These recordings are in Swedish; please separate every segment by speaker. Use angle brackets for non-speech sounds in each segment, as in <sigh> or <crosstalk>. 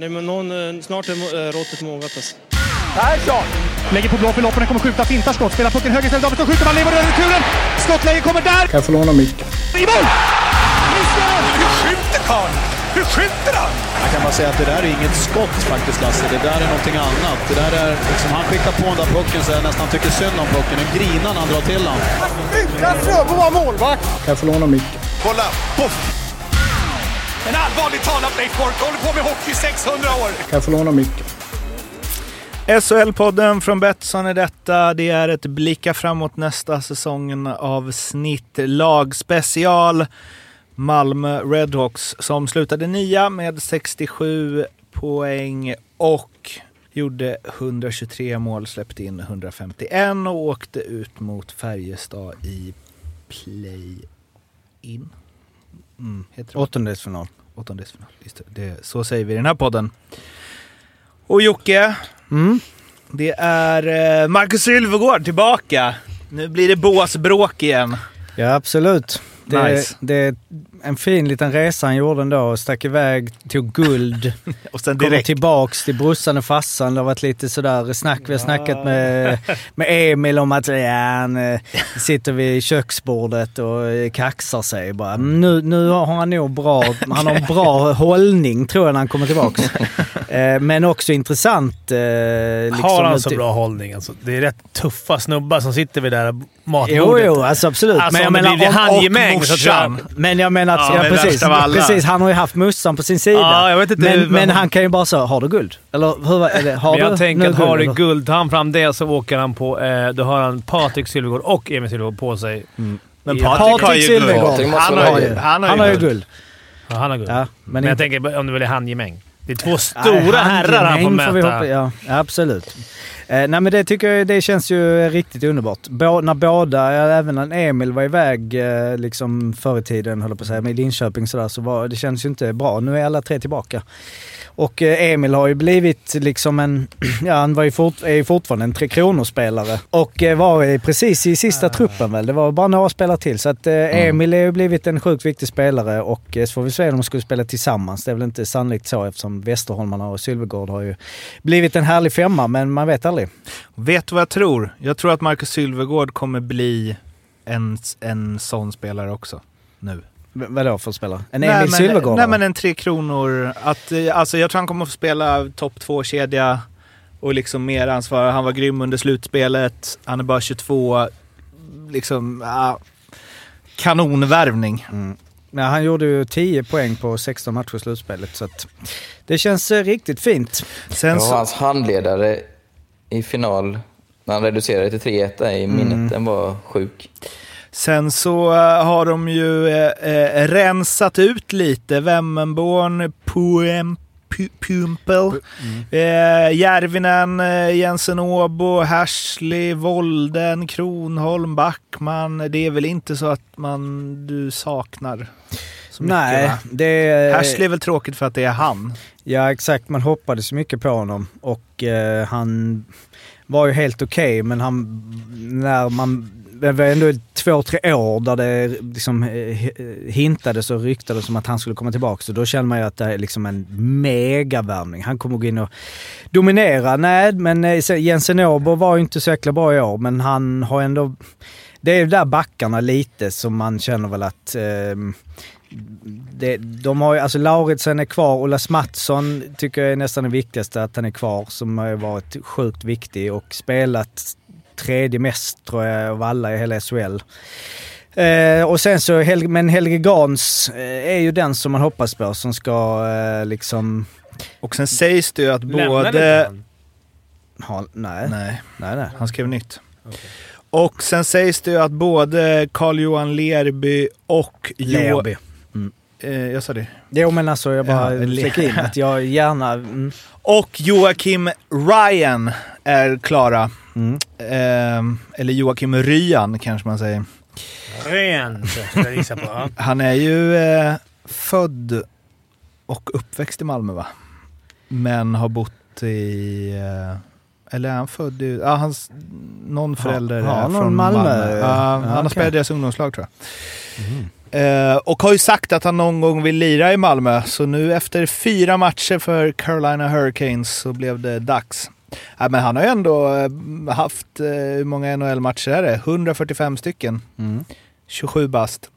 Speaker 1: Nej, men någon, eh, snart är eh, råttet mogat alltså.
Speaker 2: Persson! Lägger på blå för loppen, den kommer skjuta, fintar skott, spelar pucken höger istället, Davidsson skjuter, man lever över returen! Skottläge kommer där!
Speaker 3: Kan jag få låna micken?
Speaker 2: I mål! Hur skjuter karln? Hur skjuter han?
Speaker 4: Jag kan bara säga att det där är inget skott faktiskt Lasse, det där är någonting annat. Det där är liksom, han skickar på den där pucken så jag nästan tycker synd om pucken. Den grinar när han drar till den.
Speaker 2: Utan Fröbo var målvakt!
Speaker 3: Kan jag få låna micken?
Speaker 5: Kolla! Poff!
Speaker 2: En allvarligt talad Blake Bork, håller på med hockey i 600 år!
Speaker 3: Kan jag få låna micken?
Speaker 6: SHL-podden från Betsson är detta. Det är ett blicka framåt nästa säsongen av snittlag special. Malmö Redhawks som slutade nia med 67 poäng och gjorde 123 mål, släppte in 151 och åkte ut mot Färjestad i play-in. Mm, heter det.
Speaker 7: Åttondelsfinal.
Speaker 6: Åttondelsfinal. Just det. Det, så säger vi i den här podden. Och Jocke,
Speaker 7: Mm.
Speaker 6: det är eh, Marcus Sylvegård tillbaka. Nu blir det båsbråk igen.
Speaker 7: Ja, absolut. Det,
Speaker 6: Nice.
Speaker 7: det är en fin liten resa han gjorde ändå. Stack iväg, tog guld,
Speaker 6: <laughs> Och sen
Speaker 7: kom
Speaker 6: direkt...
Speaker 7: tillbaks till brorsan och farsan. Det har varit lite sådär snack. Vi har snackat med, med Emil om att ja, han eh, sitter vid köksbordet och eh, kaxar sig bara. "Mm, Nu, nu har han nog bra, han har en
Speaker 8: <laughs>
Speaker 7: bra hållning tror jag när han kommer tillbaks. Eh, Men också intressant. eh, Liksom,
Speaker 8: har han så
Speaker 7: uti-
Speaker 8: bra hållning? Alltså, det är rätt tuffa snubbar som sitter vid det där matbordet.
Speaker 7: Jo, jo, alltså absolut.
Speaker 8: Alltså, om det blir handgemäng, så tror jag-
Speaker 7: Men jag menar att...
Speaker 6: Ja,
Speaker 7: Ja,
Speaker 6: men
Speaker 7: precis,
Speaker 6: värst av alla.
Speaker 7: precis. Han har ju haft mussan på sin sida.
Speaker 8: Ja, jag vet inte
Speaker 7: men
Speaker 8: hur-
Speaker 7: men han kan ju bara säga “Har du guld?” Eller hur var det? Har
Speaker 8: Men jag
Speaker 7: du
Speaker 8: tänker
Speaker 7: nu
Speaker 8: att har du
Speaker 7: eller?
Speaker 8: guldtand fram det så åker han på... Eh, då har han Patrik Sylvegård och Emil Sylvegård på sig.
Speaker 6: Men
Speaker 8: Ja.
Speaker 6: Patrik har ju
Speaker 7: Mm. Silvergård.
Speaker 6: guld.
Speaker 3: Patrik måste
Speaker 6: Han
Speaker 3: vara
Speaker 6: har ju,
Speaker 3: guld.
Speaker 6: han
Speaker 7: Han har ju
Speaker 6: guld.
Speaker 7: guld.
Speaker 8: Ja, han har guld.
Speaker 7: Ja, men
Speaker 8: men
Speaker 7: inte-
Speaker 8: jag tänker om det väl är handgemäng. Det är två
Speaker 7: Nej,
Speaker 8: stora herrar han får
Speaker 7: handgemäng
Speaker 8: möta.
Speaker 7: vi hoppa- ja, absolut. Eh, nej men det tycker jag det känns ju riktigt underbart. Bå, när båda, ja, även när Emil var iväg eh, liksom förr i tiden, höll jag på att säga, med Linköping sådär, så var, det känns ju inte bra. Nu är alla tre tillbaka. Och eh, Emil har ju blivit liksom en, ja han var ju fort, är ju fortfarande en Tre Kronor-spelare. Och eh, var ju precis i
Speaker 6: Ah.
Speaker 7: sista truppen väl. Det var bara några spelare till. Så att eh,
Speaker 6: Mm.
Speaker 7: Emil har ju blivit en sjukt viktig spelare och eh, så får vi se om de skulle spela tillsammans. Det är väl inte sannolikt så eftersom Westerholmarna och Sylvegård har ju blivit en härlig femma, men man vet aldrig.
Speaker 6: Vet du vad jag tror? Jag tror att Marcus Sylvegård kommer bli en, en sån spelare också. Nu.
Speaker 7: V- vadå för spelare? En
Speaker 6: Nej,
Speaker 7: Emil
Speaker 6: men-
Speaker 7: Sylvegård?
Speaker 6: Nej, men en Tre Kronor. Att, eh, alltså, jag tror han kommer få spela topp två-kedja och liksom mer ansvar. Han var grym under slutspelet. Han är bara 22. Liksom, ah, kanonvärvning.
Speaker 7: Nej, han gjorde ju 10 poäng på 16 matcher i slutspelet, så att det känns eh, riktigt fint.
Speaker 6: Sen
Speaker 9: Jag var
Speaker 6: så,
Speaker 9: hans handledare i final, när han reducerade till 3-1 i
Speaker 7: Mm.
Speaker 9: minnet, den var sjuk.
Speaker 6: sen så eh, har de ju eh, eh, rensat ut lite. Vemmenborn, Puem, Pu- Pumpel, eh, Järvinen, eh, Jensen Åbo, Hashley, Volden, Kronholm, Backman. Det är väl inte så att man, du saknar så mycket?
Speaker 7: Nej,
Speaker 6: va?
Speaker 7: det... är-
Speaker 6: Hashley är väl tråkigt för att det är han.
Speaker 7: Ja exakt, man hoppades ju mycket på honom och eh, han var ju helt okej men han, när man, det var ändå två, tre år där det liksom eh, hintades och ryktades om att han skulle komma tillbaka. Så då känner man ju att det är liksom en megavärvning. Han kommer gå in och dominera. Nej, men eh, sen- Jensen Åbo var ju inte så jäkla bra i år men han har ändå... Det är ju där backarna lite som man känner väl att... ehm, det, de har ju, alltså Lauritsen är kvar, Ola Smattsson tycker jag är nästan det viktigaste att han är kvar som har ju varit sjukt viktig och spelat tredje mest tror jag av alla i hela SHL. Eh, och sen så, Hel- men Helge Gans eh, är ju den som man hoppas på som ska eh, liksom
Speaker 6: Och sen sägs det ju att
Speaker 8: Lämnar
Speaker 6: både...
Speaker 8: inte han?
Speaker 7: ha, nej, nej,
Speaker 6: Nej,
Speaker 7: nej.
Speaker 6: han skrev nytt. Och sen sägs det ju att både Carl-Johan Lerby och... Jo-
Speaker 7: Lerby.
Speaker 6: Eh, jag sa det.
Speaker 7: Jo men alltså jag bara
Speaker 6: Ja, le-
Speaker 7: fick in att jag gärna... Mm,
Speaker 6: Och Joakim Ryan är klara.
Speaker 7: mm.
Speaker 6: Ehm, eller Joakim Ryan kanske man säger.
Speaker 8: Rent, skulle jag gissa på. Ja.
Speaker 6: Han är ju eh, född och uppväxt i Malmö va? Men har bott i... Eh, eller är han född i... Ja, hans, någon förälder
Speaker 7: har
Speaker 6: är
Speaker 7: någon
Speaker 6: från
Speaker 7: Malmö?
Speaker 6: Malmö. Ja,
Speaker 7: Ja,
Speaker 6: han har
Speaker 7: okej. Mhm.
Speaker 6: spelat i deras ungdomslag tror jag. Eh, och har ju sagt att han någon gång vill lira i Malmö, så nu efter fyra matcher för Carolina Hurricanes så blev det dags. Nej, men han har ju ändå eh, haft, eh, hur många NHL-matcher är det? 145 stycken. 27 bast.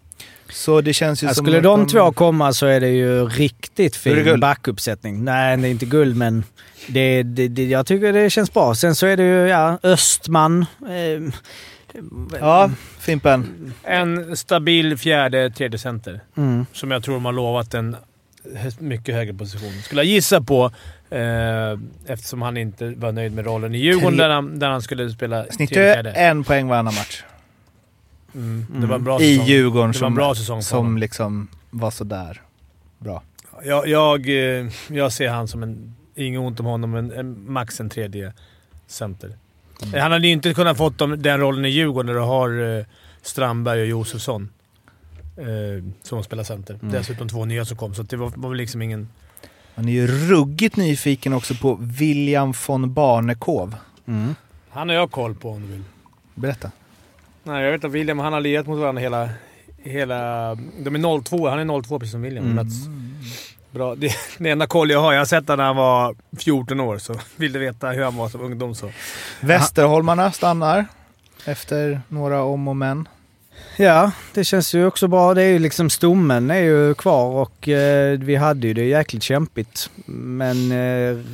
Speaker 6: Så det känns ju
Speaker 7: Ja,
Speaker 6: som...
Speaker 7: skulle
Speaker 6: att
Speaker 7: de två komma så är det ju riktigt
Speaker 6: Är det
Speaker 7: fin
Speaker 6: guld?
Speaker 7: backuppsättning. Nej, det är inte guld, men det, det, det, jag tycker det känns bra. Sen så är det ju ja, Östman. Eh,
Speaker 6: Ja, Fimpen.
Speaker 8: En stabil fjärde, tredje center.
Speaker 7: mm.
Speaker 8: Som jag tror de har lovat en hö- mycket högre position. Skulle jag gissa på, eh, eftersom han inte var nöjd med rollen i Djurgården
Speaker 6: Tre-
Speaker 8: där han, där han skulle spela
Speaker 6: Snittar
Speaker 8: tredje,
Speaker 6: ju
Speaker 8: fjärde.
Speaker 6: en poäng varannan match.
Speaker 8: Mm. Det var en bra
Speaker 6: I
Speaker 8: säsong.
Speaker 6: Djurgården
Speaker 8: Det var en
Speaker 6: som,
Speaker 8: bra säsong för
Speaker 6: som
Speaker 8: honom.
Speaker 6: liksom var sådär bra.
Speaker 8: Jag, jag, eh, jag ser han som en... Inget ont om honom, men en, max en tredje center.
Speaker 6: Mm.
Speaker 8: Eh, Han hade ju inte kunnat fått dem, den rollen i Djurgården när du har eh, Strandberg och Josefsson eh, som spelar center.
Speaker 6: Mm.
Speaker 8: Dessutom två nya som kom, så det var, var väl liksom ingen...
Speaker 6: Man är ju ruggigt nyfiken också på William von Barnekov.
Speaker 7: mm.
Speaker 8: Han har jag koll på om du vill.
Speaker 6: Berätta.
Speaker 8: Nej, jag vet att William och han har lirat mot varandra hela... hela de är 02, han är 02 precis som William. Mm. Bra. Det, <laughs> det enda koll jag har, jag har sett honom när han var 14 år, så vill du veta hur han var som ungdom så.
Speaker 6: Västerholmarna stannar efter några om och men.
Speaker 7: Ja, det känns ju också bra. Det är ju liksom stommen är ju kvar och eh, vi hade ju det jäkligt kämpigt. Men... Eh,
Speaker 6: Men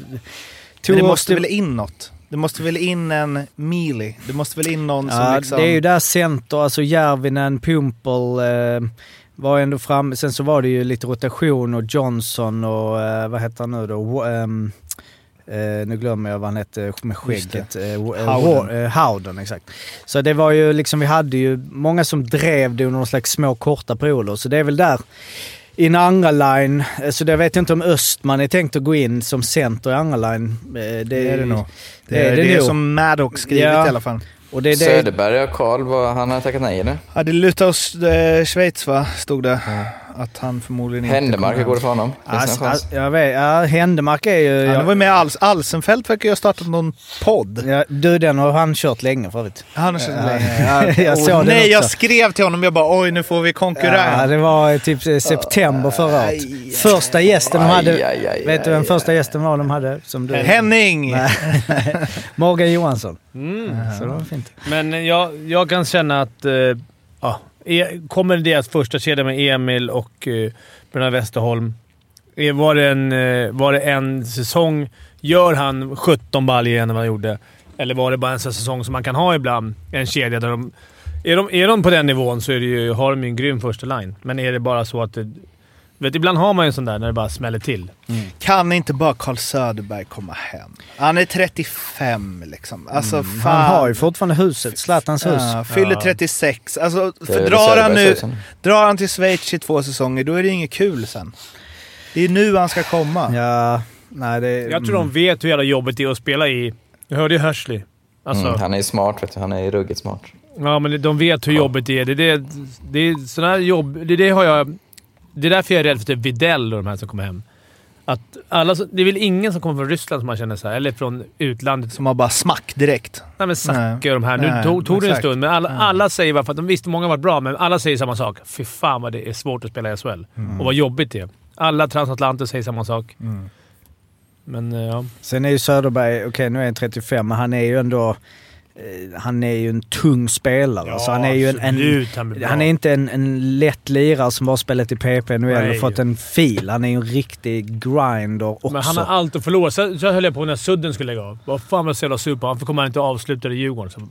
Speaker 6: det
Speaker 7: Toros-
Speaker 6: måste väl in något? Det måste väl in en Mealy? Det måste väl in någon som
Speaker 7: ja,
Speaker 6: liksom...
Speaker 7: Det är ju där center, alltså Järvinen, Pumpel eh, var ändå framme. Sen så var det ju lite rotation och Johnson och eh, vad heter han nu då? Wa- ehm, eh, nu glömmer jag vad han hette med skägget. Eh, Wa- eh,
Speaker 6: Howden.
Speaker 7: Wa- eh, Howden, exakt. Så det var ju liksom, vi hade ju många som drev det under någon slags små korta perioder. Så det är väl där. I en andra line, eh, så det vet jag inte om Östman är tänkt att gå in som center i andra line. Eh, Det,
Speaker 6: det är det nog. Det
Speaker 7: det
Speaker 6: är
Speaker 7: är
Speaker 6: det,
Speaker 7: det nog.
Speaker 6: som Maddox skrivit
Speaker 7: Ja.
Speaker 6: i alla fall.
Speaker 7: Och det, är det,
Speaker 9: Söderberg och Karl, vad- han har tackat nej eller?
Speaker 6: Ja, det lutar oss eh, Schweiz va, stod det. Att han förmodligen inte
Speaker 9: Händemark, hur
Speaker 6: kommer
Speaker 9: går det
Speaker 6: hem.
Speaker 9: för honom? Finns det
Speaker 7: Alltså,
Speaker 9: någon chans?
Speaker 7: alltså, jag vet, ja, Händemark är ju...
Speaker 6: Han
Speaker 7: Jag,
Speaker 6: var ju med i Als Alsenfelt verkar ju ha startat någon podd.
Speaker 7: ja, du, den har han kört länge för övrigt.
Speaker 6: Han har känt länge.
Speaker 7: Ja, jag
Speaker 6: Åh,
Speaker 7: såg den
Speaker 6: nej, <laughs> jag
Speaker 7: också.
Speaker 6: skrev till honom. Jag bara oj, nu får vi konkurrens.
Speaker 7: Ja, det var typ eh, september förra året. Första gästen alltså, de hade...
Speaker 9: Aj, aj, aj,
Speaker 7: vet du vem
Speaker 9: aj,
Speaker 7: första gästen var de hade? Som du,
Speaker 6: Henning!
Speaker 7: Morgan Johansson.
Speaker 8: Mm.
Speaker 7: Så det var fint.
Speaker 8: Men jag, jag kan känna att... Eh, ja, e, kommer deras första kedja med Emil och eh, Bruna Westerholm. Eh, Var det, en, eh, var det en säsong? Gör han 17 baljor igen än vad han gjorde? Eller var det bara en sån säsong som man kan ha ibland? En kedja där de... Är de, är de på den nivån så är det ju, har de ju en grym första line. Men är det bara så att... Det, vet, ibland har man ju en sån där när det bara smäller till.
Speaker 6: Kan inte bara Carl Söderberg komma hem? Han är 35 liksom. Alltså fan.
Speaker 7: Han har ju fortfarande huset, Zlatans hus.
Speaker 6: Ja, fyller
Speaker 8: Ja.
Speaker 6: 36. Alltså,
Speaker 9: Det är
Speaker 6: för
Speaker 9: väl
Speaker 6: drar, han
Speaker 9: Söderberg,
Speaker 6: nu,
Speaker 9: säger han.
Speaker 6: drar han till Schweiz i två säsonger, då är det inget kul sen. Det är nu han ska komma.
Speaker 7: Ja, nej det...
Speaker 8: Jag tror de vet hur jävla jobbigt det är att spela i... Jag hörde ju Hersley. Alltså,
Speaker 9: Mm, han är smart, vet du. han är ruggigt smart.
Speaker 8: Ja, men de vet hur jobbigt det är. Det, är det, det är sådana här jobb... Det, är det har jag... Det är därför jag är rädd för typ Videll och de här som kommer hem. Att alla, som- det är väl ingen som kommer från Ryssland som man känner så här, eller från utlandet. Som,
Speaker 6: Som har bara smack direkt.
Speaker 8: nej, men Zacke och de här. Nu
Speaker 6: Nej,
Speaker 8: tog, tog det en
Speaker 6: exakt.
Speaker 8: stund, men alla, alla säger bara för att de visste många har varit bra, men alla säger samma sak. Fy fan vad det är svårt att spela i SHL
Speaker 7: Mm.
Speaker 8: och vad jobbigt det är. Alla transatlanter säger samma sak. Men eh, ja.
Speaker 7: Sen är ju Söderberg, okej nu är han 35, men han är ju ändå... eh, Han är ju en tung spelare. så Alltså, han är ju en, en
Speaker 8: absolut, han blir bra.
Speaker 7: Han är inte en, en lätt lirare som bara spelat i PP nu eller
Speaker 8: Nej.
Speaker 7: fått en fil. Han är ju en riktig grinder också.
Speaker 8: Men han har allt att förlora. Så, så höll jag på när Sudden skulle lägga av. Vad fan vad så jävla sur på Varför kommer han inte att avsluta i Djurgården? Så,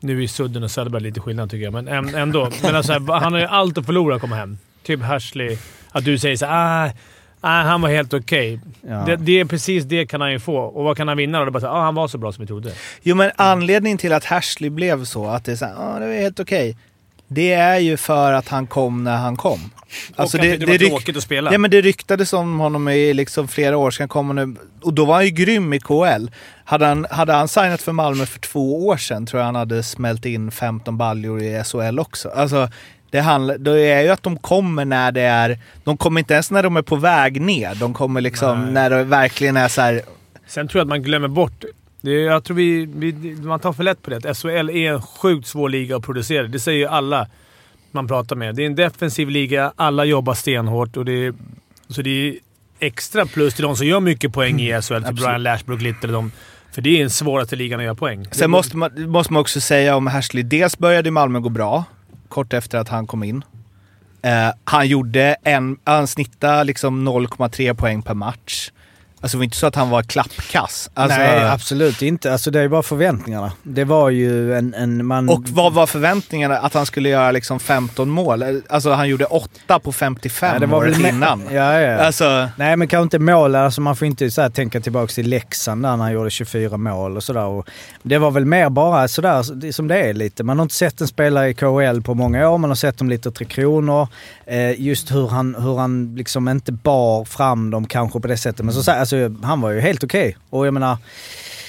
Speaker 8: nu är Sudden och Söderberg lite skillnad tycker jag, men äm- ändå. Men alltså, han har ju allt att förlora att komma hem. Typ Hersley. Att du säger såhär ah, ah, han var helt okej.
Speaker 7: Ja.
Speaker 8: Det, det är precis det kan han ju få. Och vad kan han vinna då? Det är bara såhär, ah, han var så bra som vi trodde.
Speaker 6: Jo
Speaker 8: Mm.
Speaker 6: men anledningen till att Hersley blev så, att det är såhär, ah, det är helt okej. Det är ju för att han kom när han kom. Alltså,
Speaker 8: och det, det, var
Speaker 6: ryk-
Speaker 8: tråkigt att spela.
Speaker 6: Ja, men det ryktades om honom i liksom flera år sedan. Kom han nu, och då var han ju grym i KL. Hade han, hade han signat för Malmö för två år sedan tror jag han hade smält in 15 baljor i SHL också. Alltså, det, handlar, det är ju att de kommer när det är... De kommer inte ens när de är på väg ner. De kommer liksom
Speaker 8: Nej.
Speaker 6: när det verkligen är så här...
Speaker 8: Sen tror jag att man glömmer bort... Det, är- jag tror vi, vi, man tar för lätt på det. Att SHL är en sjukt svår liga att producera. Det säger ju alla. man pratar med. Det är en defensiv liga, alla jobbar stenhårt och det är, så det är extra plus till de som gör mycket poäng i SHL, till Brian Lashbrook, Little, de, för det är den svåraste ligan att göra poäng.
Speaker 6: Sen måste man, måste man också säga om Hersley. Dels började Malmö gå bra, kort efter att han kom in. Eh, han gjorde en, han snittade liksom 0,3 poäng per match. Alltså det var inte så att han var klappkass. Alltså,
Speaker 7: Nej, absolut inte. Alltså det är bara förväntningarna. Det var ju en... en man...
Speaker 6: och vad var förväntningarna? Att han skulle göra liksom 15 mål? Alltså han gjorde 8 på 55
Speaker 7: Nej, det var
Speaker 6: året
Speaker 7: väl-
Speaker 6: innan.
Speaker 7: <laughs> Ja, ja.
Speaker 6: Alltså,
Speaker 7: Nej, men kanske inte mål. Alltså man får inte så här, tänka tillbaka till Leksand där när han gjorde 24 mål och sådär. Och Det var väl mer bara sådär som det är lite. Man har inte sett en spelare i KHL på många år. Man har sett dem lite Tre Kronor. Eh, just hur han, hur han liksom inte bar fram dem kanske på det sättet. Men så, så här, alltså, han var ju helt okej. Och jag menar,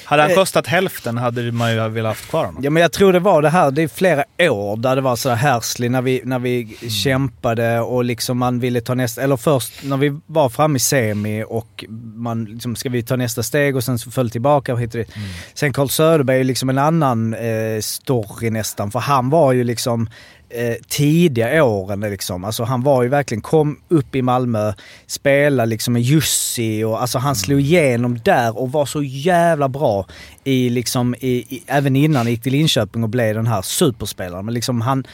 Speaker 6: hade han
Speaker 7: Eh.
Speaker 6: kostat hälften hade man ju velat haft kvar honom.
Speaker 7: Ja, men jag tror det var det här, det är flera år där det var så här härslig när vi, när vi kämpade och liksom man ville ta nästa, eller först när vi var framme i semi och man liksom, ska vi ta nästa steg och sen så föll tillbaka och hit och dit.
Speaker 8: Mm.
Speaker 7: Sen Carl Söderberg är liksom en annan eh, story nästan, för han var ju liksom eh, tidiga åren liksom. Alltså han var ju verkligen, kom upp i Malmö, spela liksom med Jussi och alltså han
Speaker 8: Mm.
Speaker 7: slog igenom där och var så jävla bra i liksom, i, i, även innan han gick till Linköping och blev den här superspelaren. Men liksom han,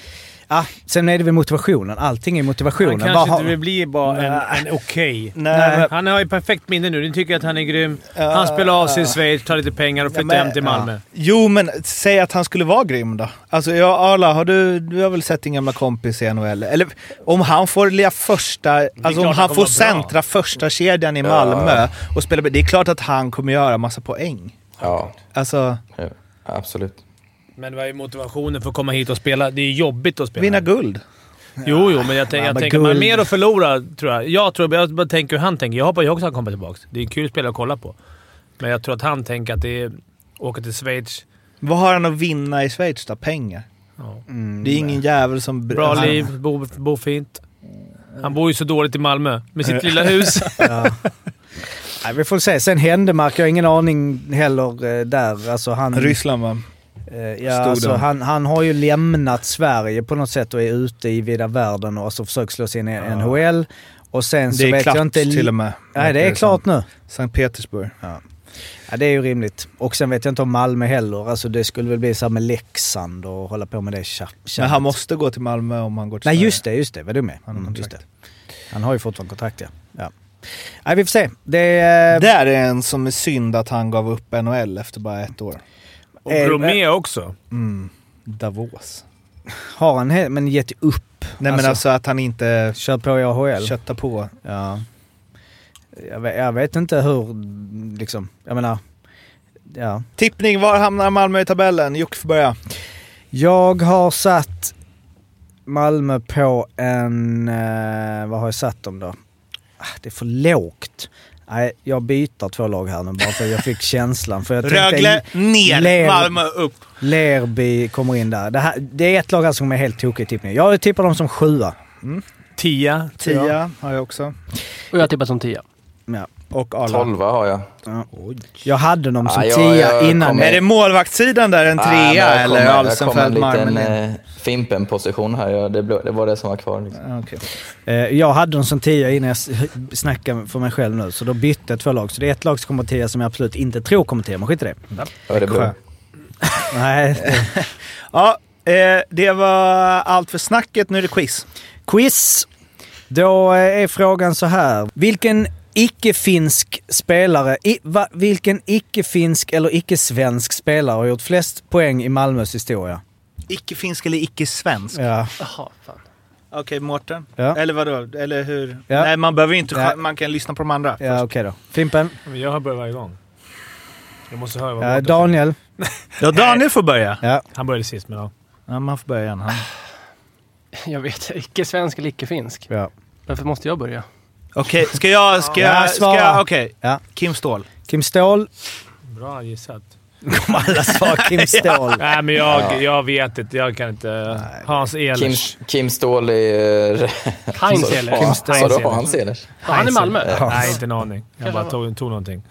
Speaker 7: ja, sen är det väl motivationen. Allting är motivationen.
Speaker 8: Han kanske
Speaker 7: Vad har-
Speaker 8: inte vill bli bara en, en okej.
Speaker 6: Nej, men-
Speaker 8: Han har ju perfekt minne nu. Ni tycker att han är grym. Han spelar av sig i Schweiz, tar lite pengar och flyttar
Speaker 6: men-
Speaker 8: hem till Malmö.
Speaker 6: Jo, men säg att han skulle vara grym då. Alltså, ja, Arla, har du, du har väl sett din gamla kompis i NHL? Eller om han får lira första... Alltså om
Speaker 8: klart han
Speaker 6: han får
Speaker 8: kommer vara bra.
Speaker 6: centra första kedjan i Malmö och spela... Det är klart att han kommer göra massa poäng.
Speaker 9: Ja,
Speaker 6: Alltså,
Speaker 9: ja, absolut.
Speaker 8: Men det var ju motivationen för att komma hit och spela. Det är ju jobbigt att spela.
Speaker 6: vinna guld.
Speaker 8: Jo, jo, men jag, tänk,
Speaker 7: Ja,
Speaker 8: jag
Speaker 7: men
Speaker 8: tänker man har
Speaker 7: guld.
Speaker 8: mer att förlora, tror jag. Jag, tror, jag bara tänker hur han tänker. Jag hoppas jag också att han kommer tillbaka. Det är en kul spelare att kolla på. Men jag tror att han tänker att det är... Åka till Schweiz.
Speaker 6: Vad har han att vinna i Schweiz då? Pengar?
Speaker 8: Ja.
Speaker 6: det
Speaker 7: Mm.
Speaker 6: är ingen jävel som...
Speaker 8: Bra
Speaker 6: han,
Speaker 8: liv, bo, bo fint. Han bor ju så dåligt i Malmö med sitt
Speaker 7: <laughs>
Speaker 8: lilla hus.
Speaker 7: Nej, vi får se. Sen Händemark, jag har ingen aning heller eh, där. Alltså han...
Speaker 6: Ryssland va?
Speaker 7: Eh, Ja,
Speaker 6: Stod
Speaker 7: alltså,
Speaker 6: de.
Speaker 7: han, han har ju lämnat Sverige på något sätt och är ute i vida världen och alltså försöker slå sig in i NHL. Och sen så
Speaker 6: Det är
Speaker 7: vet
Speaker 6: klart
Speaker 7: jag inte...
Speaker 6: till och med.
Speaker 7: Nej, det är
Speaker 6: verkar som.
Speaker 7: klart nu.
Speaker 6: Sankt Petersburg.
Speaker 7: Ja, det är ju rimligt. Och sen vet jag inte om Malmö heller. Alltså det skulle väl bli så här med Leksand och hålla på med det tja-
Speaker 6: Men
Speaker 7: tjammet.
Speaker 6: han måste gå till Malmö om han går till
Speaker 7: Nej,
Speaker 6: Sverige.
Speaker 7: just det. Just det. Vad dum jag är.
Speaker 6: Han har
Speaker 7: Mm, just det.
Speaker 6: kontrakt.
Speaker 7: Han har ju fortfarande kontrakt, ja. ja. Nej, vi får se. Det är...
Speaker 6: Där är en som är synd att han gav upp NHL efter bara ett år.
Speaker 8: Och
Speaker 7: Eh,
Speaker 8: Bromé också.
Speaker 6: Mm. Davos.
Speaker 7: Har han he- men gett upp?
Speaker 6: Nej men alltså att han inte
Speaker 7: Kör på i AHL?
Speaker 6: köttar på.
Speaker 7: Ja. Jag vet, jag vet inte hur, liksom, jag menar, ja.
Speaker 6: Tippning, var hamnar Malmö i tabellen? Jocke får börja.
Speaker 7: Jag har satt Malmö på en, eh, vad har jag satt dem då? Ah, det är för lågt. Nej, jag byter två lag här nu bara för jag fick känslan. För jag tänkte-
Speaker 6: Rögle ner,
Speaker 7: Ler-
Speaker 6: Malmö upp.
Speaker 7: Lerby kommer in där. Det, här, det är ett lag här som är helt tokigt tippning. Jag tippar dem som sjua.
Speaker 8: Tia.
Speaker 6: Tia har jag också.
Speaker 5: Och jag tippar som tia.
Speaker 7: Ja.
Speaker 6: Och Arla.
Speaker 9: Tolva har jag.
Speaker 7: Jag hade dem som
Speaker 9: Ah, jag-
Speaker 7: tia
Speaker 9: jag
Speaker 7: innan.
Speaker 9: kommer-
Speaker 6: Är det målvaktssidan där en
Speaker 9: Ah, men
Speaker 6: trea
Speaker 9: jag kommer-
Speaker 6: eller
Speaker 9: Jag kom en
Speaker 6: Alsenfelt,
Speaker 9: liten
Speaker 6: Marmelin?
Speaker 9: eh, Fimpen-position här. Ja, det, blev- det var det som var kvar. Liksom.
Speaker 6: Ah, okej.
Speaker 7: Eh, Jag hade dem som tia innan jag s- snackade för mig själv nu, så då bytte jag två lag. Så det är ett lag som kommer tia som jag absolut inte tror kommer tia, men skit i det.
Speaker 9: Örebro.
Speaker 7: Nej. <laughs> det-
Speaker 6: Ja, eh, det var allt för snacket. Nu är det quiz.
Speaker 7: Quiz. Då eh, är frågan så här. Vilken icke-finsk spelare, i, va, vilken icke-finsk eller icke-svensk spelare har gjort flest poäng i Malmös historia?
Speaker 6: Icke-finsk eller icke-svensk?
Speaker 7: Ja.
Speaker 5: Jaha, fan.
Speaker 6: Okej, Mårten.
Speaker 7: Ja,
Speaker 6: Eller vadå? Eller hur?
Speaker 7: Ja.
Speaker 6: Nej, man behöver ju inte...
Speaker 7: Nej.
Speaker 6: Man kan lyssna på de andra.
Speaker 7: ja okej då. Fimpen?
Speaker 8: Men Jag har börjat varje gång. Jag måste höra vad
Speaker 7: Ja,
Speaker 8: Mårten
Speaker 7: Daniel?
Speaker 6: Ja, Daniel får börja.
Speaker 7: Ja.
Speaker 8: säger. Han började sist, men ja.
Speaker 6: Ja, man får börja igen. Han-
Speaker 5: Jag vet. Icke svensk eller icke finsk.
Speaker 7: ja.
Speaker 5: Varför måste jag börja?
Speaker 6: Okej, ska jag... Ska
Speaker 7: Ja,
Speaker 6: jag... Ska
Speaker 7: svara.
Speaker 6: jag Okej.
Speaker 7: Ja.
Speaker 6: Kim Ståhl.
Speaker 7: Kim Ståhl?
Speaker 8: Bra gissat.
Speaker 7: Kom alla svar Kim Ståhl.
Speaker 8: Nej, men jag, jag vet inte. Jag kan inte. Hans
Speaker 9: Kim,
Speaker 8: Ehlers.
Speaker 9: Kim Ståhl är... eh, <laughs>
Speaker 5: Heinz
Speaker 9: sa du-
Speaker 5: eller?
Speaker 9: Ja,
Speaker 5: Ja,
Speaker 9: sa du Hans Ehlers?
Speaker 5: Han är Malmö.
Speaker 8: Nej, inte en aning. Jag bara tog, tog någonting.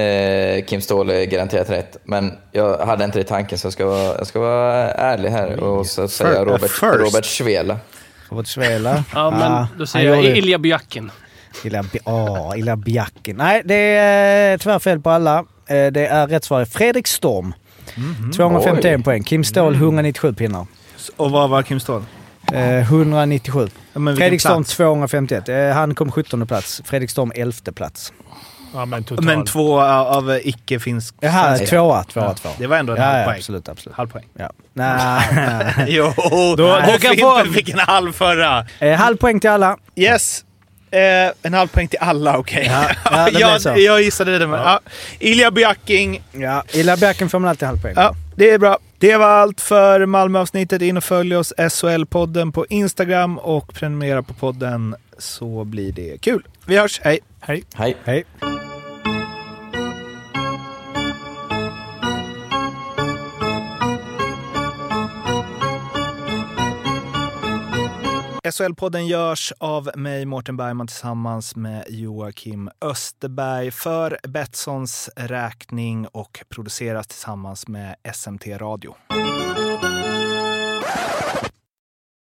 Speaker 9: Eh, Kim Ståhl är garanterat rätt, men jag hade inte det i tanken så jag ska vara, jag ska vara ärlig här och så säga Robert,
Speaker 6: first.
Speaker 9: Robert Svela.
Speaker 7: Kvaratskhelia.
Speaker 5: <laughs> Ja, men
Speaker 7: Ah,
Speaker 5: då
Speaker 7: han
Speaker 5: säger jag
Speaker 7: gjorde det.
Speaker 5: Ilja
Speaker 7: <laughs>
Speaker 5: Bjakin.
Speaker 7: Illa, bi- ah, illa bjacken. Nej, det är eh, tyvärr fel på alla. Eh, det är rätt svar är Fredrik Storm.
Speaker 6: Mhm.
Speaker 7: 251 poäng. Kim Ståhl
Speaker 6: Mm.
Speaker 7: 197 pinnar.
Speaker 6: Och vad var Kim Ståhl?
Speaker 7: Eh, 197.
Speaker 6: Ja, men vilken
Speaker 7: Fredrik Storm
Speaker 6: plats.
Speaker 7: 251. Eh, han kom 17 plats. Fredrik Storm 11 plats.
Speaker 8: Ja, men totalt.
Speaker 6: Men två av eh, icke-finsk...
Speaker 7: Jaha,
Speaker 6: svensk.
Speaker 7: tvåa, tvåa, tvåa.
Speaker 6: Det var ändå en
Speaker 7: Ja,
Speaker 6: halv
Speaker 7: ja,
Speaker 6: poäng.
Speaker 7: absolut, absolut.
Speaker 6: <laughs> Halv poäng.
Speaker 7: Ja. Nej.
Speaker 6: Jo,
Speaker 7: <laughs>
Speaker 8: Då-
Speaker 6: Nej,
Speaker 8: du kan
Speaker 6: Fimpen
Speaker 8: få-
Speaker 6: fick en halv förra.
Speaker 7: eh, halv poäng till
Speaker 6: <laughs>
Speaker 7: alla.
Speaker 6: Yes. Eh, en halv poäng till alla, okej. <laughs>
Speaker 7: Ja, ja, det blev så.
Speaker 6: jag, jag gissade det. Men, ja. Ilja Bjacking.
Speaker 7: Ja, illa bjacken får man alltid halv poäng.
Speaker 6: Ja, det är bra. Det var allt för Malmöavsnittet. In och följ oss, SHL-podden på Instagram och prenumerera på podden så blir det kul. Vi hörs, hej! Hej!
Speaker 9: Hej.
Speaker 7: Hej.
Speaker 6: SHL-podden görs av mig, Mårten Bergman, tillsammans med Joakim Österberg för Betssons räkning och produceras tillsammans med SMT Radio.